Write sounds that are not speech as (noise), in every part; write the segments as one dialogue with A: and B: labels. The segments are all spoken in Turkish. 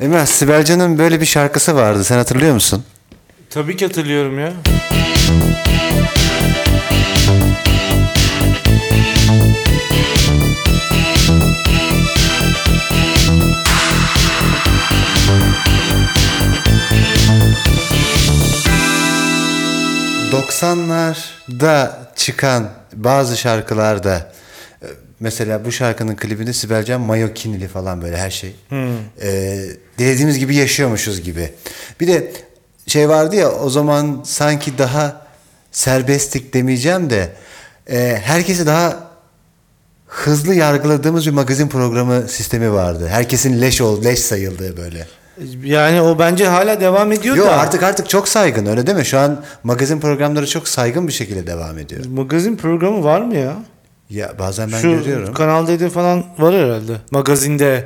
A: Emel Sibel Can'ın böyle bir şarkısı vardı. Sen hatırlıyor musun?
B: Tabii ki hatırlıyorum ya.
A: ...90'larda çıkan bazı şarkılarda e, mesela bu şarkının klibinde Sibel Can mayo kinili falan böyle her şey. E, dediğimiz gibi yaşıyormuşuz gibi. Bir de şey vardı ya o zaman sanki daha serbestlik demeyeceğim de e, herkesi daha hızlı yargıladığımız bir magazin programı sistemi vardı. Herkesin leş ol, leş sayıldığı böyle.
B: Yani o bence hala devam ediyor
A: Yok
B: da.
A: artık artık çok saygın öyle değil mi? Şu an magazin programları çok saygın bir şekilde devam ediyor.
B: Magazin programı var mı ya?
A: Ya bazen ben
B: Şu
A: görüyorum.
B: Kanal D'de falan var herhalde. Magazinde.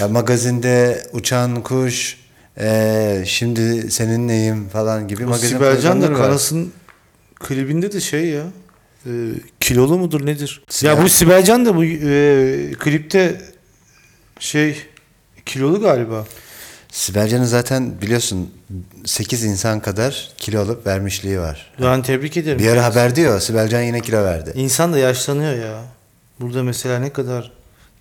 A: Ya magazinde uçan kuş, eee, şimdi senin neyim falan gibi magazin
B: Sibel Can da
A: programları var.
B: Karas'ın klibinde de şey ya. e, kilolu mudur nedir?
A: Sibel-
B: Ya bu Sibel Can da bu e, klipte şey kilolu galiba.
A: Sibel Can'ın zaten biliyorsun 8 insan kadar kilo alıp vermişliği var.
B: Ben tebrik ederim.
A: Bir ara haber diyor Sibel Can yine kilo verdi.
B: İnsan da yaşlanıyor ya. Burada mesela ne kadar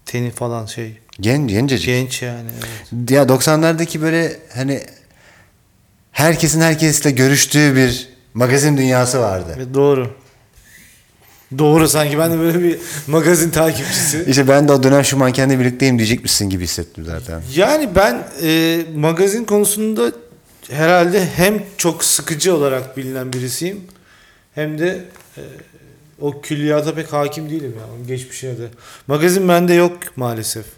B: teni falan şey.
A: Gen, gencecik.
B: Genç yani. evet.
A: Ya 90'lardaki böyle hani herkesin herkesle görüştüğü bir magazin dünyası vardı.
B: Evet, doğru. Doğru sanki ben de böyle bir magazin takipçisi.
A: İşte ben de o dönem şu mankenle birlikteyim diyecekmişsin gibi hissettim zaten.
B: Yani ben e, magazin konusunda herhalde hem çok sıkıcı olarak bilinen birisiyim hem de e, o külliyata pek hakim değilim ya onun geçmişine de. Magazin bende yok maalesef.
A: (laughs)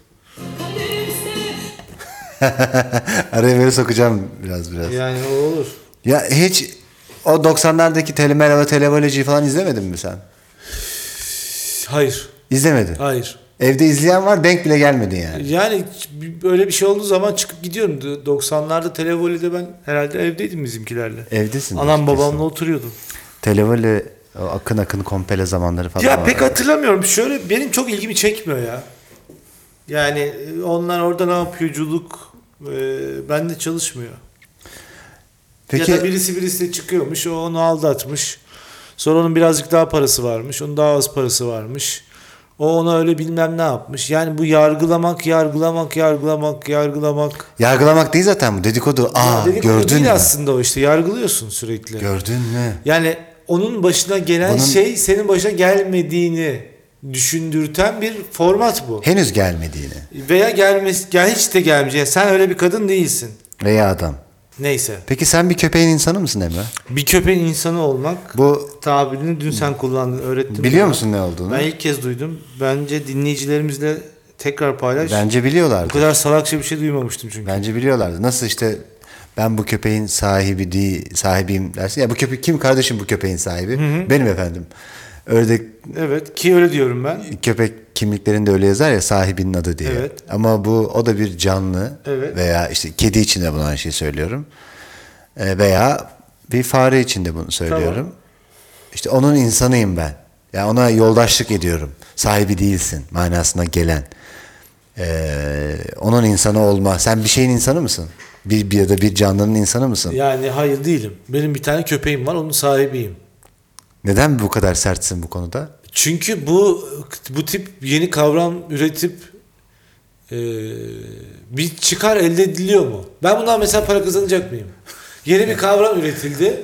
A: Araya böyle sokacağım biraz biraz. Ya,
B: Yani o olur.
A: hiç o 90'lardaki Telemel ve Televoloji'yi falan izlemedin mi sen?
B: Hayır.
A: İzlemedin.
B: Hayır.
A: Evde izleyen var denk bile gelmedin yani.
B: Yani böyle bir şey olduğu zaman çıkıp gidiyorum. 90'larda televolide ben herhalde evdeydim bizimkilerle.
A: Evdesin. kesin.
B: Anam babamla oturuyordum.
A: Televole o akın akın kompele zamanları falan
B: Ya
A: var.
B: pek hatırlamıyorum. Şöyle benim çok ilgimi çekmiyor ya. Yani e, onlar orada ne yapıyorculuk e, bende çalışmıyor.
A: Peki
B: Ya da birisi birisiyle çıkıyormuş, o onu aldatmış. Sonra onun birazcık daha parası varmış, onun daha az parası varmış. O ona öyle bilmem ne yapmış. Yani bu yargılamak, yargılamak, yargılamak, yargılamak.
A: yargılamak değil zaten bu dedikodu. Aa
B: Ya dedikodu
A: gördün
B: değil
A: mü?
B: aslında o işte yargılıyorsun sürekli.
A: Gördün mü?
B: Yani onun başına gelen
A: Onun-
B: şey senin başına gelmediğini düşündürten bir format bu.
A: Henüz gelmediğini.
B: Veya gelmesi, gel hiç de gelmeyecek. Yani sen öyle bir kadın değilsin.
A: Veya adam.
B: Neyse.
A: Peki sen bir köpeğin insanı mısın Emre?
B: Bir köpeğin insanı olmak
A: Bu
B: tabirini dün sen kullandın, öğrettin.
A: biliyor
B: bana.
A: musun ne olduğunu?
B: Ben ilk kez duydum. Bence dinleyicilerimizle tekrar paylaş.
A: Bence
B: Bu
A: biliyorlardı.
B: kadar salakça bir şey duymamıştım çünkü.
A: Bence biliyorlardı. Nasıl işte ben bu köpeğin sahibi değil, sahibiyim dersin. Ya bu köpek kim kardeşim bu köpeğin sahibi? Benim efendim. Ördek
B: Evet ki öyle diyorum ben.
A: köpek kimliklerinde öyle yazar ya sahibinin adı diye.
B: Evet.
A: Ama bu o da bir canlı
B: Evet.
A: veya işte kedi için de buna şey söylüyorum. Ee, veya bir fare için de bunu söylüyorum. İşte onun insanıyım ben. Ya ona yoldaşlık ediyorum. Sahibi değilsin manasına gelen. Ee, onun insanı olma. Sen bir şeyin insanı mısın? Bir, bir ya da bir canlının insanı mısın?
B: Yani hayır değilim. Benim bir tane köpeğim var, onun sahibiyim.
A: Neden bu kadar sertsin bu konuda?
B: Çünkü bu bu tip yeni kavram üretip e, bir çıkar elde ediliyor mu? Ben bundan mesela para kazanacak mıyım? Yeni bir kavram üretildi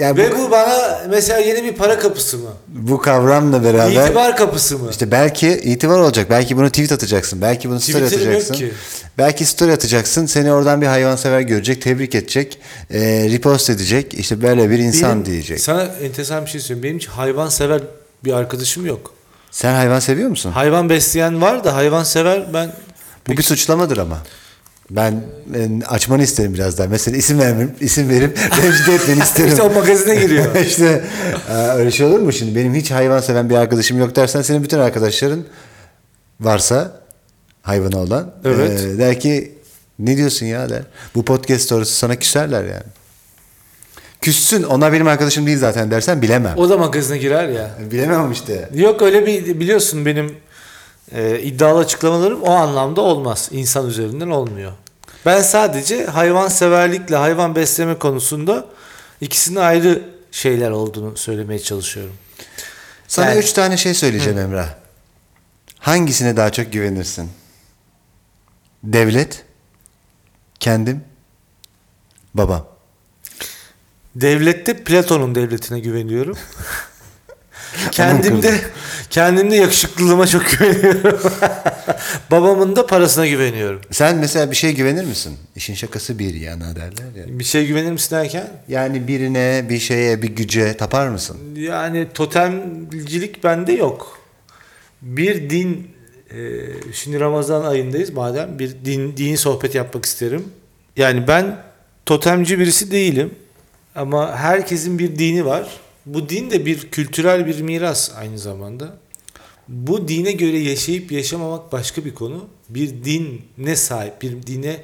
A: yani
B: ve
A: bu,
B: bu bana mesela yeni bir para kapısı mı?
A: bu kavramla beraber...
B: İtibar kapısı mı?
A: İşte belki itibar olacak. Belki bunu tweet atacaksın. Belki bunu story
B: Twitter'ım yok
A: atacaksın.
B: ki.
A: Belki story atacaksın. Seni oradan bir hayvansever görecek, tebrik edecek, eee, repost edecek. İşte böyle bir insan
B: Benim-
A: diyecek.
B: Sana enteresan bir şey söyleyeyim. Benim hiç hayvan sever bir arkadaşım yok.
A: Sen hayvan seviyor musun?
B: Hayvan besleyen var da hayvan sever ben
A: Bu bir suçlamadır ama. Ben e, açmanı isterim biraz daha. Mesela isim vermem, isim verip (laughs) rencide
B: (laughs)
A: etmeni isterim.
B: İşte o magazine giriyor.
A: (laughs) işte e, öyle şey olur mu şimdi? Benim hiç hayvan seven bir arkadaşım yok dersen senin bütün arkadaşların varsa hayvanı olan
B: Evet.
A: e, der ki ne diyorsun ya der. Bu podcast sonrası sana küserler yani. Küssün onlar benim arkadaşım değil zaten dersen bilemem.
B: o da magazine girer ya.
A: Bilemem işte.
B: Yok öyle bir biliyorsun benim e, iddialı açıklamalarım o anlamda olmaz. İnsan üzerinden olmuyor. Ben sadece hayvanseverlikle hayvan besleme konusunda ikisinin ayrı şeyler olduğunu söylemeye çalışıyorum.
A: Sana
B: Yani-
A: üç tane şey söyleyeceğim Emrah. Hangisine daha çok güvenirsin? Devlet, kendim, babam.
B: Devlette Platon'un devletine güveniyorum. kendimde kendimde yakışıklılığıma çok güveniyorum. (laughs) Babamın da parasına güveniyorum.
A: Sen mesela bir şeye güvenir misin? İşin şakası bir yana derler ya.
B: Bir şey güvenir misin derken?
A: Yani birine, bir şeye, bir güce tapar mısın?
B: Yani totemcilik bende yok. Bir din e, şimdi Ramazan ayındayız madem bir din dini sohbet yapmak isterim. Yani ben totemci birisi değilim ama herkesin bir dini var. Bu din de bir kültürel bir miras aynı zamanda. Bu dine göre yaşayıp yaşamamak başka bir konu. Bir dine sahip, bir dine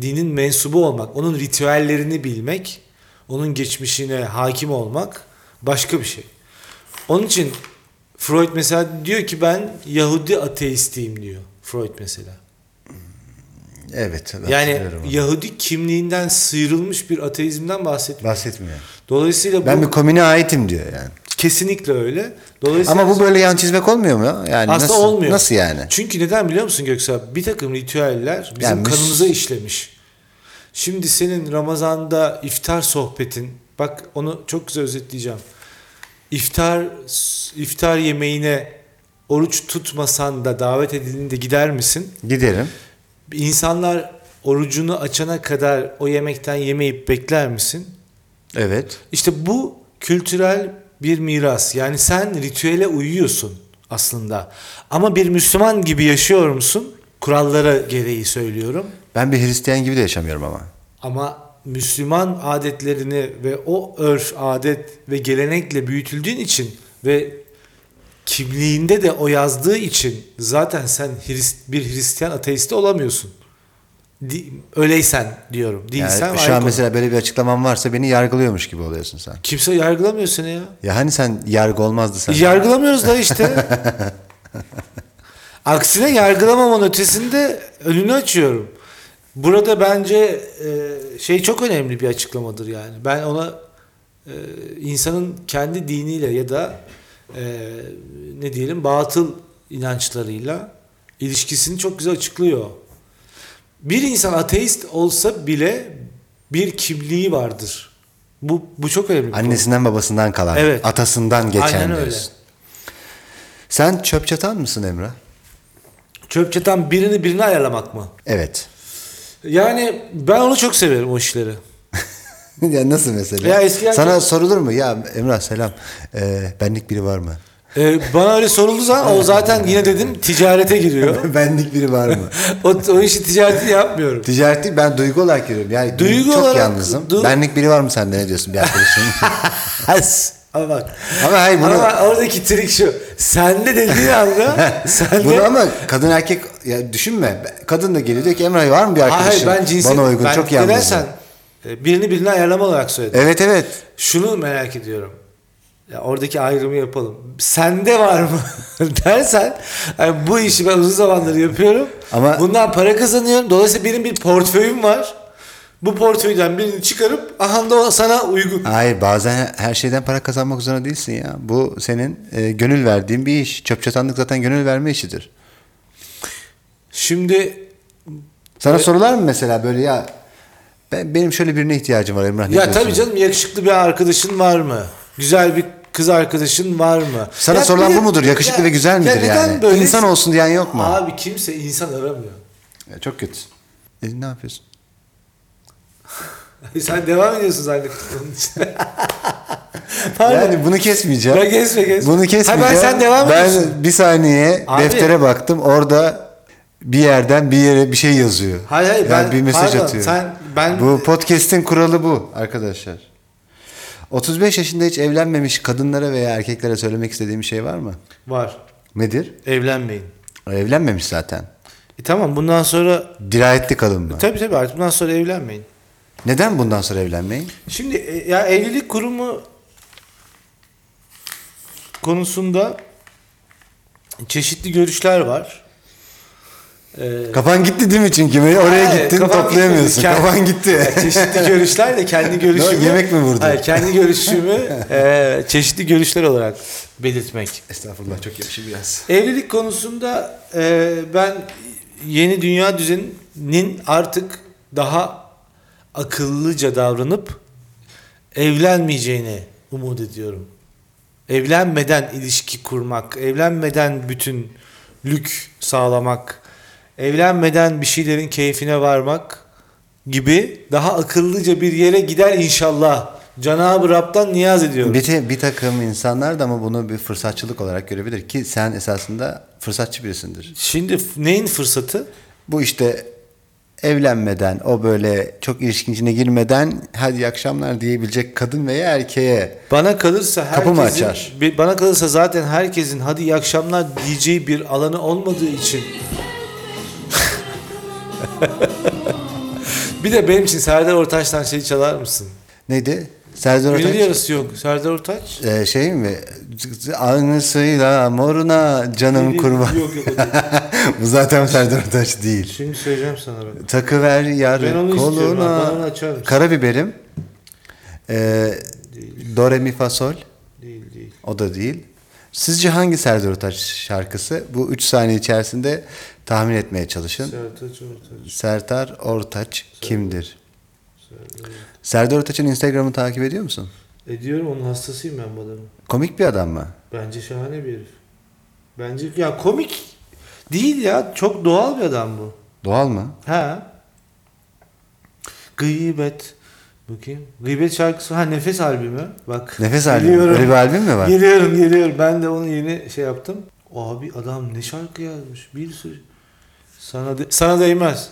B: dinin mensubu olmak, onun ritüellerini bilmek, onun geçmişine hakim olmak başka bir şey. Onun için Freud mesela diyor ki ben Yahudi ateistiyim diyor Freud mesela.
A: Evet.
B: Yani
A: hatırlıyorum onu.
B: Yahudi kimliğinden sıyrılmış bir ateizmden bahsediyor.
A: bahsetmiyor.
B: Dolayısıyla bu
A: Ben bir komüne aitim diyor yani.
B: kesinlikle öyle. Dolayısıyla
A: Ama bu böyle yan çizmek olmuyor mu ya? Yani
B: Aslında
A: Hani nasıl,
B: olmuyor.
A: Nasıl yani?
B: Çünkü neden biliyor musun Göksel? Bir takım ritüeller bizim
A: Yani müs-
B: kanımıza işlemiş. Şimdi senin Ramazan'da iftar sohbetin, bak onu çok güzel özetleyeceğim. İftar iftar yemeğine oruç tutmasan da davet edildiğinde gider misin?
A: Giderim.
B: İnsanlar orucunu açana kadar o yemekten yemeyip bekler misin?
A: Evet.
B: İşte bu kültürel bir miras. Yani sen ritüele uyuyorsun aslında. Ama bir Müslüman gibi yaşıyor musun? Kurallara gereği söylüyorum.
A: Ben bir Hristiyan gibi de yaşamıyorum ama.
B: Ama Müslüman adetlerini ve o örf, adet ve gelenekle büyütüldüğün için ve kimliğinde de o yazdığı için zaten sen Hrist, bir Hristiyan ateisti olamıyorsun. Di- öyleysen diyorum. Değilsen
A: Yani
B: ayrı
A: şu an
B: konu.
A: mesela böyle bir açıklaman varsa beni yargılıyormuş gibi oluyorsun sen.
B: kimse yargılamıyor seni ya.
A: Ya hani sen yargı olmazdı sen.
B: Yargılamıyoruz
A: (laughs)
B: da işte. Aksine yargılamamanın ötesinde önünü açıyorum. Burada bence e, şey çok önemli bir açıklamadır yani. Ben ona e, insanın kendi diniyle ya da e, ne diyelim batıl inançlarıyla ilişkisini çok güzel açıklıyor. Bir insan ateist olsa bile bir kimliği vardır. Bu bu çok önemli. bir konu.
A: Annesinden babasından kalan,
B: Evet.
A: atasından geçen
B: Aynen öyle.
A: diyorsun. Sen çöp çatan mısın Emrah?
B: Çöp çatan birini birine ayarlamak mı?
A: Evet.
B: Yani ben onu çok severim o işleri.
A: (laughs) ya nasıl mesela?
B: Ya eskiden
A: Sana
B: çok-
A: sorulur mu? Ya Emrah selam. Ee, benlik biri var mı? (laughs)
B: Ee, bana öyle sorulduğu zaman o zaten yine dedim ticarete giriyor. (laughs)
A: benlik biri var mı?
B: O, o işi ticareti yapmıyorum.
A: Ticaret değil ben duygu olarak görüyorum. Yani
B: Duygu
A: çok
B: olarak-
A: yalnızım.
B: du-
A: Benlik biri var mı sende ne diyorsun bir
B: (laughs)
A: arkadaşın?
B: Has. Ama bak.
A: ama hayır bunu,
B: Ama oradaki trik şu. Sende dediği anda sende...
A: bunu ama kadın erkek ya düşünme. Kadın da geliyor diyor ki Emrah var mı bir
B: Hayır
A: arkadaşın?
B: ben cinsel...
A: Bana uygun
B: ben
A: çok yalnızım.
B: nedensen, e, birini birine ayarlama olarak söyledim.
A: Evet evet.
B: Şunu merak ediyorum. Ya oradaki ayrımı yapalım. Sende var mı (laughs) dersen yani bu işi ben uzun zamandır yapıyorum.
A: Ama-
B: bundan para kazanıyorum. Dolayısıyla benim bir portföyüm var. Bu portföyden birini çıkarıp aha da o sana uygun.
A: Hayır bazen her şeyden para kazanmak zorunda değilsin ya. Bu senin e, gönül verdiğin bir iş. Çöp çatanlık zaten gönül verme işidir.
B: Şimdi
A: Sana sorular mı mesela böyle ya ben, benim şöyle birine ihtiyacım var Emrah. ne
B: ya
A: diyorsun?
B: tabii canım yakışıklı bir arkadaşın var mı? Güzel bir kız arkadaşın var mı?
A: Sana
B: Ya
A: sorulan
B: bir-
A: bu mudur? Yakışıklı
B: Ya-
A: ve güzel
B: ya
A: midir
B: neden
A: yani?
B: böyle- şey-
A: İnsan olsun diyen yok mu?
B: Abi kimse insan aramıyor. (laughs)
A: Ya çok kötü. E, ne yapıyorsun?
B: Sen devam
A: (laughs)
B: ediyorsun zannettim onun için. Pardon.
A: Yani bunu kesmeyeceğim.
B: Ya kesme kesme.
A: Bunu
B: Ha
A: kesmeyeceğim.
B: ben sen devam
A: Ben
B: ediyorsun.
A: bir saniye
B: Abi.
A: deftere baktım. Orada bir yerden bir yere bir şey yazıyor.
B: Hayır, hayır,
A: Yani
B: ben-
A: bir mesaj
B: pardon,
A: atıyor.
B: sen- ben-
A: Bu podcast'in kuralı bu arkadaşlar. 35 yaşında hiç evlenmemiş kadınlara veya erkeklere söylemek istediğim bir şey var mı?
B: Var.
A: Nedir?
B: Evlenmeyin.
A: Evlenmemiş zaten.
B: E tamam bundan sonra
A: Dirayetli kalın mı?
B: tabii tabii artık bundan sonra evlenmeyin.
A: Neden bundan sonra evlenmeyin?
B: Şimdi e, ya evlilik kurumu konusunda çeşitli görüşler var. Ee,
A: Kafan gitti değil mi çünkü? Böyle Oraya
B: Hayır,
A: gittin
B: kafam
A: toplayamıyorsun.
B: gitmedi. Kendi-
A: Kafan gitti.
B: Ya çeşitli görüşler de
A: (laughs)
B: kendi görüşümü.
A: yemek mi vurdu?
B: Hayır, kendi görüşümü e, çeşitli görüşler olarak belirtmek.
A: (laughs) Estağfurullah çok yakışır biraz.
B: Evlilik konusunda e, ben yeni dünya düzeninin artık daha akıllıca davranıp evlenmeyeceğini umut ediyorum. Evlenmeden ilişki kurmak, evlenmeden bütünlük sağlamak, evlenmeden bir şeylerin keyfine varmak gibi daha akıllıca bir yere gider inşallah. Cenab-ı Rab'dan niyaz ediyorum.
A: Bir, te- bir takım insanlar da ama bunu bir fırsatçılık olarak görebilir ki sen esasında fırsatçı birisindir.
B: Şimdi f- neyin fırsatı?
A: Bu işte evlenmeden, o böyle çok ilişkin içine girmeden hadi iyi akşamlar diyebilecek kadın veya erkeğe
B: Bana kalırsa herkesin,
A: Kapı mı açar?
B: bir- Bana kalırsa zaten herkesin hadi iyi akşamlar diyeceği bir alanı olmadığı için. (laughs) bir de benim için Serdar Ortaç'tan şey çalar mısın?
A: neydi? Serdar
B: Gönül
A: Ortaç
B: yarısı yok. Serdar Ortaç.
A: Ee, şey mi? Anısıyla moruna canım kurban.
B: Yok yok. o değil.
A: (laughs) Bu zaten Serdar Ortaç değil.
B: Şimdi söyleyeceğim sana bak.
A: Takıver
B: Ben onu
A: yarı
B: istiyorum.
A: koluna.
B: Bana onu açar mısın?
A: Karabiberim. Ee, do re mi fa sol.
B: Değil değil.
A: O da değil. Sizce hangi Serdar Ortaç şarkısı? Bu 3 saniye içerisinde tahmin etmeye çalışın.
B: Sertaç Ortaç.
A: Serdar Ortaç kimdir?
B: Serdar.
A: Serdar Ortaç'ın Instagram'ını takip ediyor musun?
B: Ediyorum E onun hastasıyım ben bu adamın.
A: Komik bir adam mı?
B: Bence şahane bir herif. Bence ya komik değil ya. Çok doğal bir adam bu.
A: Doğal mı?
B: Ha. Gıybet. Bakayım. Gıybet şarkısı. Ha Nefes albümü. Bak.
A: Nefes albüm.
B: Geliyorum.
A: Öyle bir albüm mü var?
B: Geliyorum geliyorum. Ben de onu yeni şey yaptım. Abi adam ne şarkı yazmış. Bir sürü. Sana, de- sana değmez.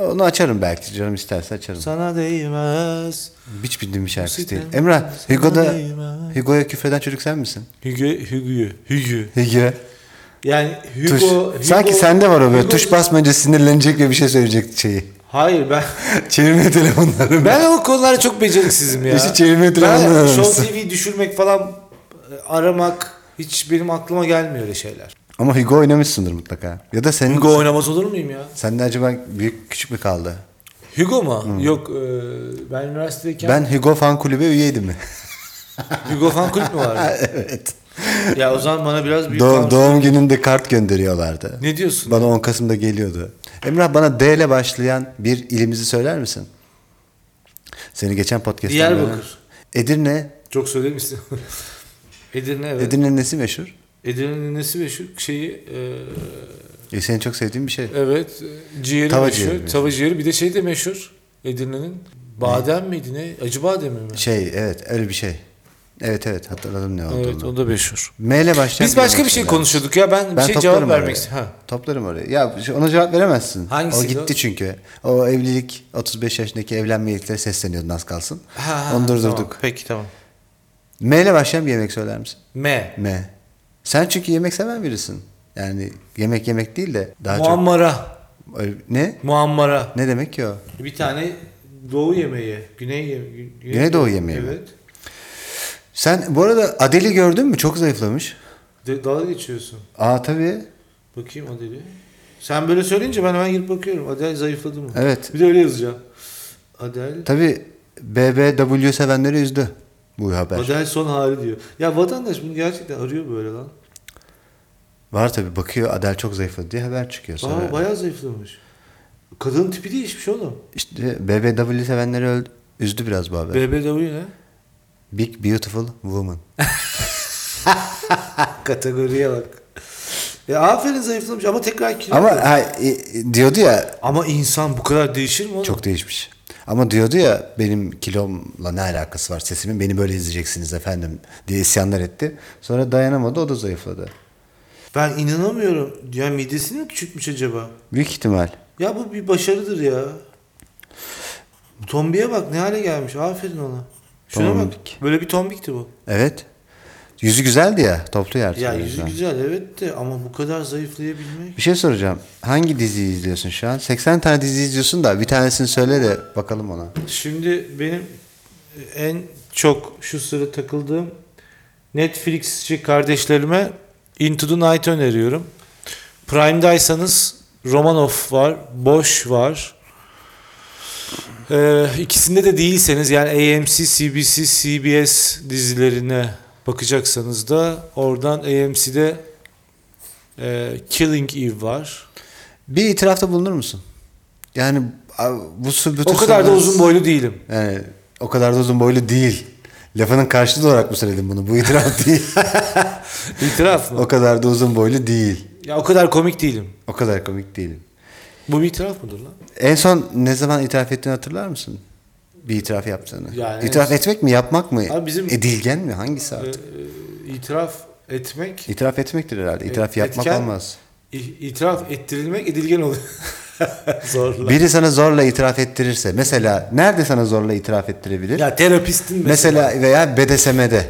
A: Onu açarım belki canım isterse açarım.
B: Sana değmez.
A: Hiç bildiğim bir şarkısı değil.
B: Müzikten-
A: Emrah,
B: Sana
A: Hugo'da
B: değmez.
A: Hugo'ya küfreden çocuk sen misin?
B: Hugo, Hugo, Hugo.
A: Hugo.
B: Yani Hugo,
A: Tuş.
B: Hugo
A: Sanki sende var o böyle.
B: Hugo-
A: Tuş basmayınca sinirlenecek ve bir şey söyleyecek şeyi.
B: Hayır ben
A: Çevirme (laughs) telefonları.
B: Ben o konulara çok beceriksizim ya.
A: İşi çevirme televizyonu
B: Ben
A: aramışsın.
B: Show TV düşürmek falan e, aramak hiç benim aklıma gelmiyor öyle şeyler.
A: Ama Hugo oynamışsındır mutlaka. Ya da senin...
B: Hugo oynamaz olur muyum ya?
A: Sende acaba büyük küçük mü kaldı?
B: Hugo mu?
A: Hmm.
B: Yok e, ben üniversitedeyken
A: Ben Hugo fan kulübe üyeydim (laughs) mi?
B: Hugo fan kulüp mü vardı?
A: (laughs) evet.
B: ya o zaman bana biraz büyük
A: Doğum,
B: fan-
A: doğum gününde kart gönderiyorlardı.
B: Ne diyorsun?
A: Bana 10 Kasım'da geliyordu. Emrah bana D ile başlayan bir ilimizi söyler misin? Seni geçen podcast'ta...
B: Diyarbakır.
A: Edirne.
B: Çok söylemişsin. (laughs) Edirne evet.
A: Edirne'nin nesi meşhur?
B: Edirne'nin nesi meşhur? Şeyi e,
A: E, senin çok sevdiğin bir şey.
B: evet e, ciğeri
A: Tava
B: meşhur.
A: ciğeri meşhur.
B: Tava ciğeri bir de şey de meşhur. Edirne'nin badem miydi ne? Acı bademi mi?
A: Şey evet öyle bir şey. Evet evet hatırladım ne olduğunu.
B: Evet o da meşhur.
A: M ile başlayan
B: Biz başka bir şey
A: mesela.
B: konuşuyorduk ya. Ben, bir
A: Ben
B: şey
A: toplarım
B: cevap
A: oraya.
B: vermek istiyorum.
A: Toplarım oraya. Ya ona cevap veremezsin.
B: Hangisiydi
A: o gitti
B: o?
A: çünkü. O evlilik 35 yaşındaki evlenme yeliklere sesleniyordun az kalsın.
B: Ha.
A: Onu durdurduk.
B: Tamam, peki tamam.
A: M ile başlayan bir yemek söyler misin?
B: M.
A: M. Sen çünkü yemek seven birisin. Yani yemek yemek değil de daha
B: muammara.
A: çok. Öyle- Ne?
B: Muammara.
A: Ne demek ki o?
B: Bir tane doğu yemeği. Güney yemeği.
A: Güneydoğu yemeği mi?
B: Evet.
A: Sen bu arada Adeli gördün mü? Çok zayıflamış.
B: De, dalga geçiyorsun.
A: Aa tabii.
B: Bakayım Adel'i. Sen böyle söyleyince ben hemen girip bakıyorum. Adel zayıfladı mı?
A: Evet.
B: Bir de öyle yazacağım. Adel.
A: Tabii BBW sevenleri üzdü bu haber.
B: Adel son hali diyor. Ya vatandaş bunu gerçekten arıyor böyle lan.
A: Var tabii bakıyor Adel çok zayıfladı diye haber çıkıyor sonra.
B: Aa, bayağı zayıflamış. Kadının tipi değişmiş oğlum.
A: İşte BBW sevenleri öldü. Üzdü biraz bu haber.
B: BBW ne?
A: Big Beautiful Woman.
B: Kategoriye bak. Ya aferin zayıflamış ama tekrar kilo.
A: Ama
B: alıyor.
A: ha, e, e, diyordu ya
B: ama insan bu kadar değişir mi oğlum?
A: çok değişmiş. Ama diyordu ya benim kilomla ne alakası var sesimin beni böyle izleyeceksiniz efendim diye isyanlar etti. Sonra dayanamadı o da zayıfladı.
B: Ben inanamıyorum. Ya midesini mi küçültmüş acaba?
A: Büyük ihtimal.
B: Ya bu bir başarıdır ya. Tombiye bak ne hale gelmiş. Aferin ona. Şuna
A: Tombik.
B: bak. Böyle bir tombikti bu.
A: Evet. Yüzü güzeldi ya toplu yer.
B: Ya yüzü güzel evet de ama bu kadar zayıflayabilmek.
A: Bir şey soracağım. Hangi diziyi izliyorsun şu an? 80 tane dizi izliyorsun da bir tanesini söyle de bakalım ona.
B: Şimdi benim e, en çok şu sıra takıldığım Netflixçi kardeşlerime Into the Night öneriyorum. Prime'daysanız
C: Romanov var, Bosch var. Ee, ikisinde de değilseniz yani AMC, CBC, CBS dizilerine bakacaksanız da oradan AMC'de e, Killing Eve var.
A: Bir itirafta bulunur musun? Yani a- bu sü- bütün
C: O kadar da
A: sınırlar-
C: uzun boylu değilim.
A: Yani o kadar da uzun boylu değil. Lafının karşılığı olarak mı söyledim bunu? Bu itiraf (laughs) değil.
C: İtiraf mı?
A: o kadar da uzun boylu değil.
C: Ya o kadar komik değilim.
A: O kadar komik değilim.
C: Bu bir itiraf mıdır lan?
A: En son ne zaman itiraf ettiğini hatırlar mısın? Bir itiraf yaptığını.
C: Yani-
A: itiraf etmek mi, yapmak mı?
C: Abi bizim-
A: Edilgen mi? Hangisi
C: Ee,
A: artık?
C: itiraf etmek,
A: İtiraf etmektir herhalde. İtiraf
C: E-
A: yapmak
C: etken-
A: olmaz.
C: i- itiraf ettirilmek edilgen oluyor. Zorla.
A: Biri sana zorla itiraf ettirirse. Mesela nerede sana zorla itiraf ettirebilir?
C: Ya terapistin mesela.
A: Mesela veya BDSM'de.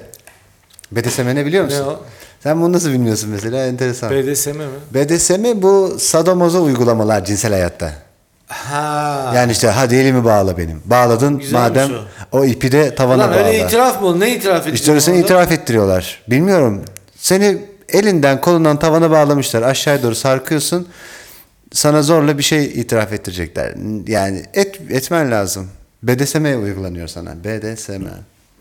A: BDSM ne biliyor musun?
C: Ne o?
A: Sen bunu nasıl bilmiyorsun mesela? Enteresan.
C: BDSM mi?
A: BDSM bu sadomozo uygulamalar cinsel hayatta.
C: Ha.
A: Yani işte hadi elimi bağla benim. Bağladın
C: Güzelmiş
A: madem o. ipi de tavana
C: Lan
A: bağla.
C: öyle itiraf mı? Ne itiraf ettin?
A: İşte öyle seni itiraf ettiriyorlar. Bilmiyorum. Seni elinden kolundan tavana bağlamışlar. Aşağıya doğru sarkıyorsun. Sana zorla bir şey itiraf ettirecekler. Yani et, etmen lazım. BDSM uygulanıyor sana. BDSM.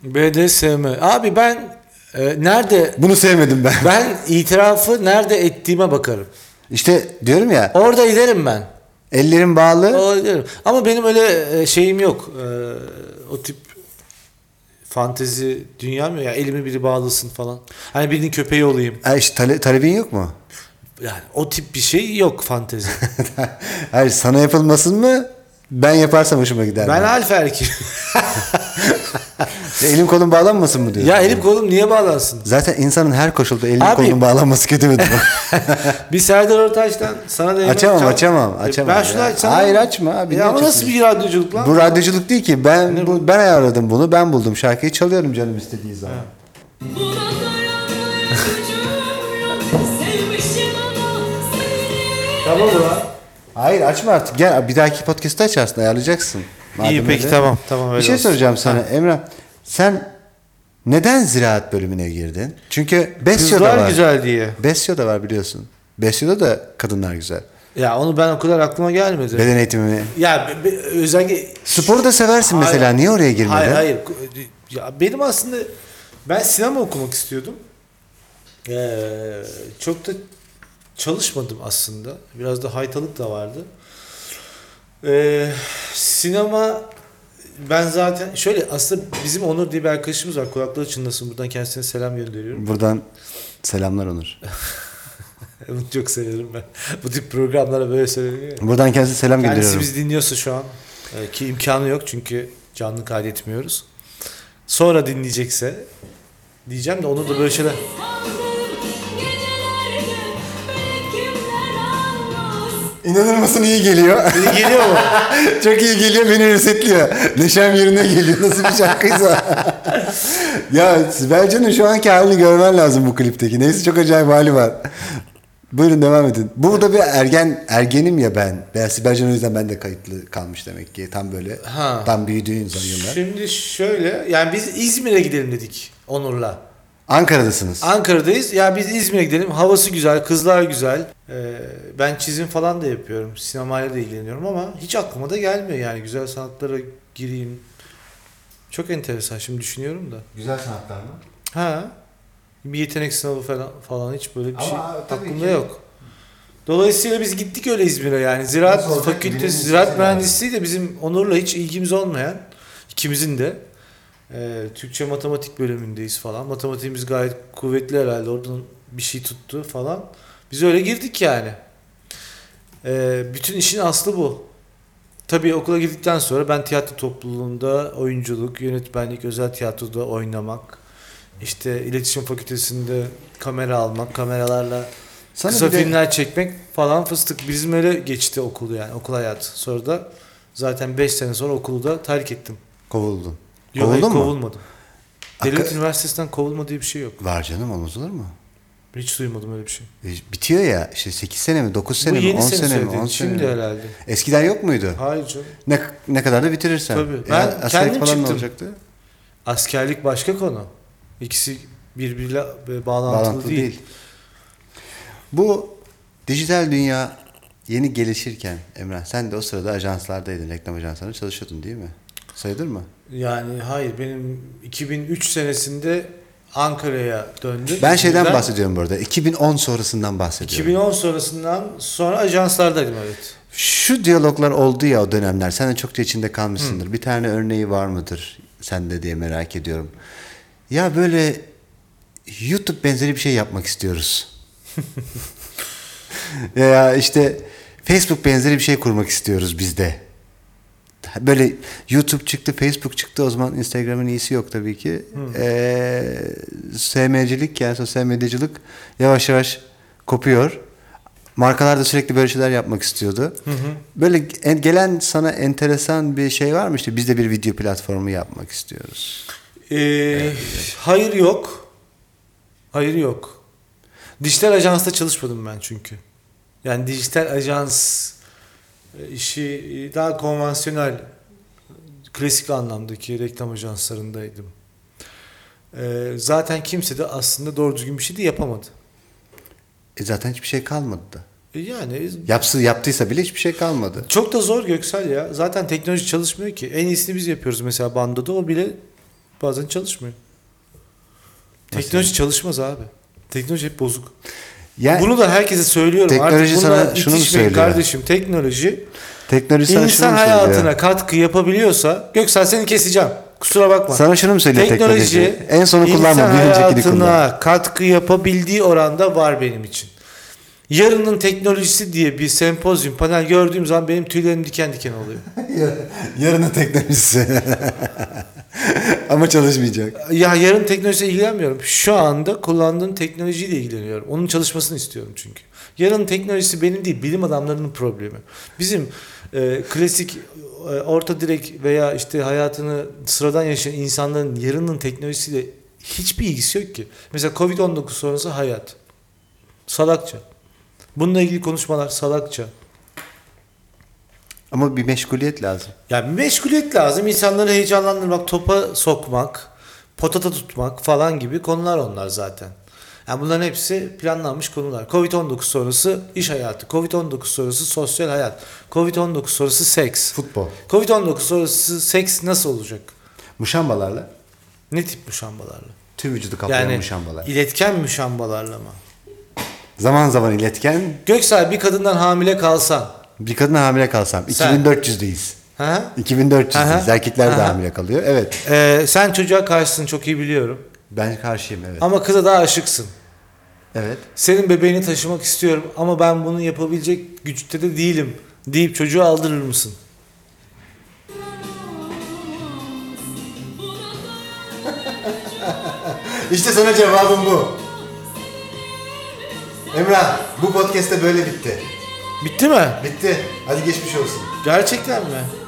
C: BDSM. Abi ben e, nerede
A: Bunu sevmedim ben.
C: ben itirafı nerede ettiğime bakarım.
A: İşte diyorum ya.
C: Orada giderim ben.
A: Ellerim bağlı.
C: Orada giderim. Ama benim öyle e, şeyim yok. E, o tip fantezi dünya mı ya elimi biri bağlasın falan. Hani birinin köpeği olayım.
A: Ha, işte tale- talebin yok mu?
C: Yani o tip bir şey
A: (laughs)
C: yok fantezi.
A: Hayır sana yapılmasın mı? Ben yaparsam hoşuma gider.
C: ben
A: mi?
C: alf erkeğim.
A: (laughs) E, Elim kolum bağlanmasın mı diyorsun?
C: ya elim kolum niye bağlansın?
A: (laughs) Zaten insanın her koşulda elin
C: Abi-
A: kolun bağlanması kötü mü?
C: (laughs) Bir Serdar Ortaç'tan sana da
A: Açamam,
C: Çal-
A: açamam,
C: E,
A: açamam
C: Ben şunu
A: ya.
C: açsam.
A: Hayır, açma abi, niye
C: Ya ama nasıl
A: açıyorsun?
C: bir radyoculuk lan?
A: bu radyoculuk değil ki. Ben bu, ben ayarladım bunu. Ben buldum. Şarkıyı çalıyorum canım istediği zaman.
D: Buna dayanır gücüm yok. Sevmişim ama seni
C: Tamam ulan.
A: Hayır açma artık. Gel bir dahaki podcast'ı açarsın. Ayarlayacaksın.
C: İyi, peki,
A: öyle.
C: tamam, tamam,
A: bir
C: öyle
A: şey
C: olsun.
A: soracağım sana Emrah. Sen neden ziraat bölümüne girdin? Çünkü Besyo da
C: Kızlar
A: var.
C: güzel diye.
A: Besyo da var biliyorsun. Besyo'da da kadınlar güzel.
C: Ya onu ben o kadar aklıma gelmedi.
A: Beden eğitimi.
C: ya be- be- özellikle
A: Sporu da seversin mesela.
C: Hayır.
A: Niye oraya girmedin?
C: Hayır hayır. Ya benim aslında ben sinema okumak istiyordum. Ee, çok da çalışmadım aslında. Biraz da haytalık da vardı. Ee, sinema ben zaten şöyle aslında bizim Onur diye bir arkadaşımız var. Kulakları çınlasın. Buradan kendisine selam gönderiyorum. (laughs)
A: Buradan selamlar Onur.
C: Bunu çok severim ben. Bu tip programlara böyle söyleniyor. ya.
A: Buradan kendisine selam
C: Kendisi
A: gönderiyorum.
C: bizi dinliyorsa şu an e, ki imkanı yok çünkü canlı kaydetmiyoruz. Sonra dinleyecekse diyeceğim de onu da böyle şeyler
D: sandım gecelerde beni kimler anlar?
A: İnanır mısın iyi geliyor. (laughs)
C: İyi geliyor mu?
A: Çok iyi geliyor beni resetliyor. Neşem yerine geliyor nasıl bir şarkıysa. (laughs) ya Sibel Can'ın şu anki halini görmen lazım bu klipteki. Neyse çok acayip hali var. Buyurun devam edin. Burada bir ergen ergenim ya ben. Ben Sibel Can o yüzden ben de kayıtlı kalmış demek ki. Tam böyle
C: Ha.
A: tam büyüdüğün zaman yıllar.
C: Şimdi şöyle yani biz İzmir'e gidelim dedik Onur'la.
A: Ankara'dasınız.
C: Ankara'dayız. Ya biz İzmir'e gidelim. Havası güzel, kızlar güzel. E, ben çizim falan da yapıyorum. Sinemayla da ilgileniyorum ama hiç aklıma da gelmiyor yani güzel sanatlara gireyim. Çok enteresan şimdi düşünüyorum da.
A: Güzel sanatlar mı?
C: Ha. Bir yetenek sınavı falan, falan hiç böyle bir
A: Ama
C: şey
A: tabii
C: aklımda
A: ki.
C: yok. Dolayısıyla biz gittik öyle İzmir'e yani. Ziraat
A: Nasıl olacak? Bilimimiz
C: fakültesi, ziraat
A: yani.
C: mühendisliği de bizim Onur'la hiç ilgimiz olmayan, ikimizin de e, Türkçe matematik bölümündeyiz falan. Matematiğimiz gayet kuvvetli herhalde. Oradan bir şey tuttu falan. Biz öyle girdik yani. E, bütün işin aslı bu. Tabii okula girdikten sonra ben tiyatro topluluğunda oyunculuk, yönetmenlik, özel tiyatroda oynamak, işte iletişim fakültesinde kamera almak, kameralarla
A: Sana
C: kısa
A: bir de-
C: filmler çekmek falan fıstık. Bizim öyle geçti okulu yani okul hayatı. Sonra da zaten 5 sene sonra okulu da terk ettim.
A: Kovuldun.
C: Yok,
A: Kovuldun mu?
C: Kovulmadım.
A: Hakka-
C: Devlet Üniversitesi'nden kovulma diye bir şey yok.
A: Var canım olmaz olur mu?
C: Hiç duymadım öyle bir şey.
A: E, Bitiyor ya işte 8 sene mi 9 sene
C: Bu
A: mi
C: yeni
A: 10
C: sene,
A: sene mi
C: söylediğin.
A: 10 sene
C: Şimdi
A: mi?
C: herhalde.
A: Eskiden yok muydu?
C: Hayır canım.
A: Ne, ne kadar da bitirirsen.
C: Tabii.
A: Ya,
C: Ben
A: askerlik
C: kendim
A: falan ne
C: çıktım.
A: olacaktı?
C: Askerlik başka konu. İkisi birbiriyle e, bağlantılı,
A: Bağlantılı değil.
C: değil.
A: Bu dijital dünya Yeni gelişirken Emrah sen de o sırada ajanslardaydın. Reklam ajanslarında çalışıyordun değil mi? Sayılır mı?
C: Yani hayır benim 2003 senesinde Ankara'ya döndüm.
A: Ben şeyden
C: Buradan
A: bahsediyorum burada. 2010 sonrasından bahsediyorum.
C: 2010 sonrasından sonra ajanslardaydım evet.
A: Şu diyaloglar oldu ya o dönemler. Sen de çokça içinde kalmışsındır. Bir tane örneği var mıdır sende diye merak ediyorum. Ya böyle YouTube benzeri bir şey yapmak istiyoruz. ya işte Facebook benzeri bir şey kurmak istiyoruz biz de. Böyle YouTube çıktı, Facebook çıktı. O zaman Instagram'ın iyisi yok tabii ki.
C: Hmm.
A: Ee, SM'cilik yani sosyal medyacılık yavaş yavaş kopuyor. Markalar da sürekli böyle şeyler yapmak istiyordu. Böyle en- gelen sana enteresan bir şey var mı? İşte biz de bir video platformu yapmak istiyoruz.
C: Ee, hayır yok. Hayır yok. Dijital ajansta çalışmadım ben çünkü. Yani dijital ajans e, işi e, daha konvansiyonel klasik anlamdaki reklam ajanslarındaydım. Ee, zaten kimse de aslında doğru düzgün bir şey de yapamadı.
A: E zaten hiçbir şey kalmadı da.
C: E Yani
A: Yapsı, yaptıysa bile hiçbir şey kalmadı.
C: çok da zor Göksel ya. Zaten teknoloji çalışmıyor ki. En iyisini biz yapıyoruz mesela bandoda. O bile bazen çalışmıyor.
A: Nasıl
C: Teknoloji çalışmaz abi. Teknoloji hep bozuk.
A: Yani
C: Bunu da herkese söylüyorum.
A: Teknoloji
C: Artık
A: sana
C: bununla
A: şunu mu
C: itişmeyin
A: söylüyor?
C: Kardeşim teknoloji
A: teknoloji sana şunu
C: insan
A: mu söylüyor?
C: hayatına katkı yapabiliyorsa Göksel seni keseceğim. Kusura bakma.
A: Sana şunu mu söylüyor teknoloji? En sonu kullanma,
C: insan
A: bir öncekini
C: hayatına
A: kullan.
C: katkı yapabildiği oranda var benim için. Yarının teknolojisi diye bir sempozyum panel gördüğüm zaman benim tüylerim diken diken oluyor.
A: (laughs) Yarının teknolojisi. (laughs) Ama çalışmayacak.
C: ya yarın teknolojiyle ilgilenmiyorum. Şu anda kullandığım teknolojiyle ilgileniyorum. Onun çalışmasını istiyorum çünkü. Yarın teknolojisi benim değil, bilim adamlarının problemi. Bizim e, klasik e, orta direk veya işte hayatını sıradan yaşayan insanların yarının teknolojisiyle hiçbir ilgisi yok ki. Mesela Covid-19 sonrası hayat. Salakça. Bununla ilgili konuşmalar salakça.
A: Ama bir meşguliyet lazım.
C: Yani meşguliyet lazım. İnsanları heyecanlandırmak, topa sokmak, potata tutmak falan gibi konular onlar zaten. Yani bunların hepsi planlanmış konular. Covid-19 sonrası iş hayatı, Covid-19 sonrası sosyal hayat, Covid-19 sonrası seks.
A: Futbol.
C: Covid-19 sonrası seks nasıl olacak?
A: Muşambalarla.
C: Ne tip müşambalarla?
A: Tüm vücudu kaplayan
C: Yani
A: muşambalar.
C: iletken müşambalarla mı?
A: Zaman zaman iletken
C: Göksel bir kadından hamile kalsan.
A: bir kadına hamile kalsam.
C: Sen.
A: 2400'deyiz.
C: Ha?
A: 2400'deyiz.
C: Aha.
A: Erkekler de
C: Aha.
A: hamile kalıyor. Evet.
C: Ee, sen çocuğa karşısın çok iyi biliyorum.
A: Ben karşıyım evet.
C: Ama kıza daha aşıksın.
A: Evet.
C: senin bebeğini taşımak istiyorum ama ben bunu yapabilecek güçte de değilim deyip çocuğu aldırır mısın?
A: İşte sana cevabım bu. Emrah bu podcast da böyle bitti.
C: Bitti mi?
A: Bitti. Hadi geçmiş olsun.
C: Gerçekten mi?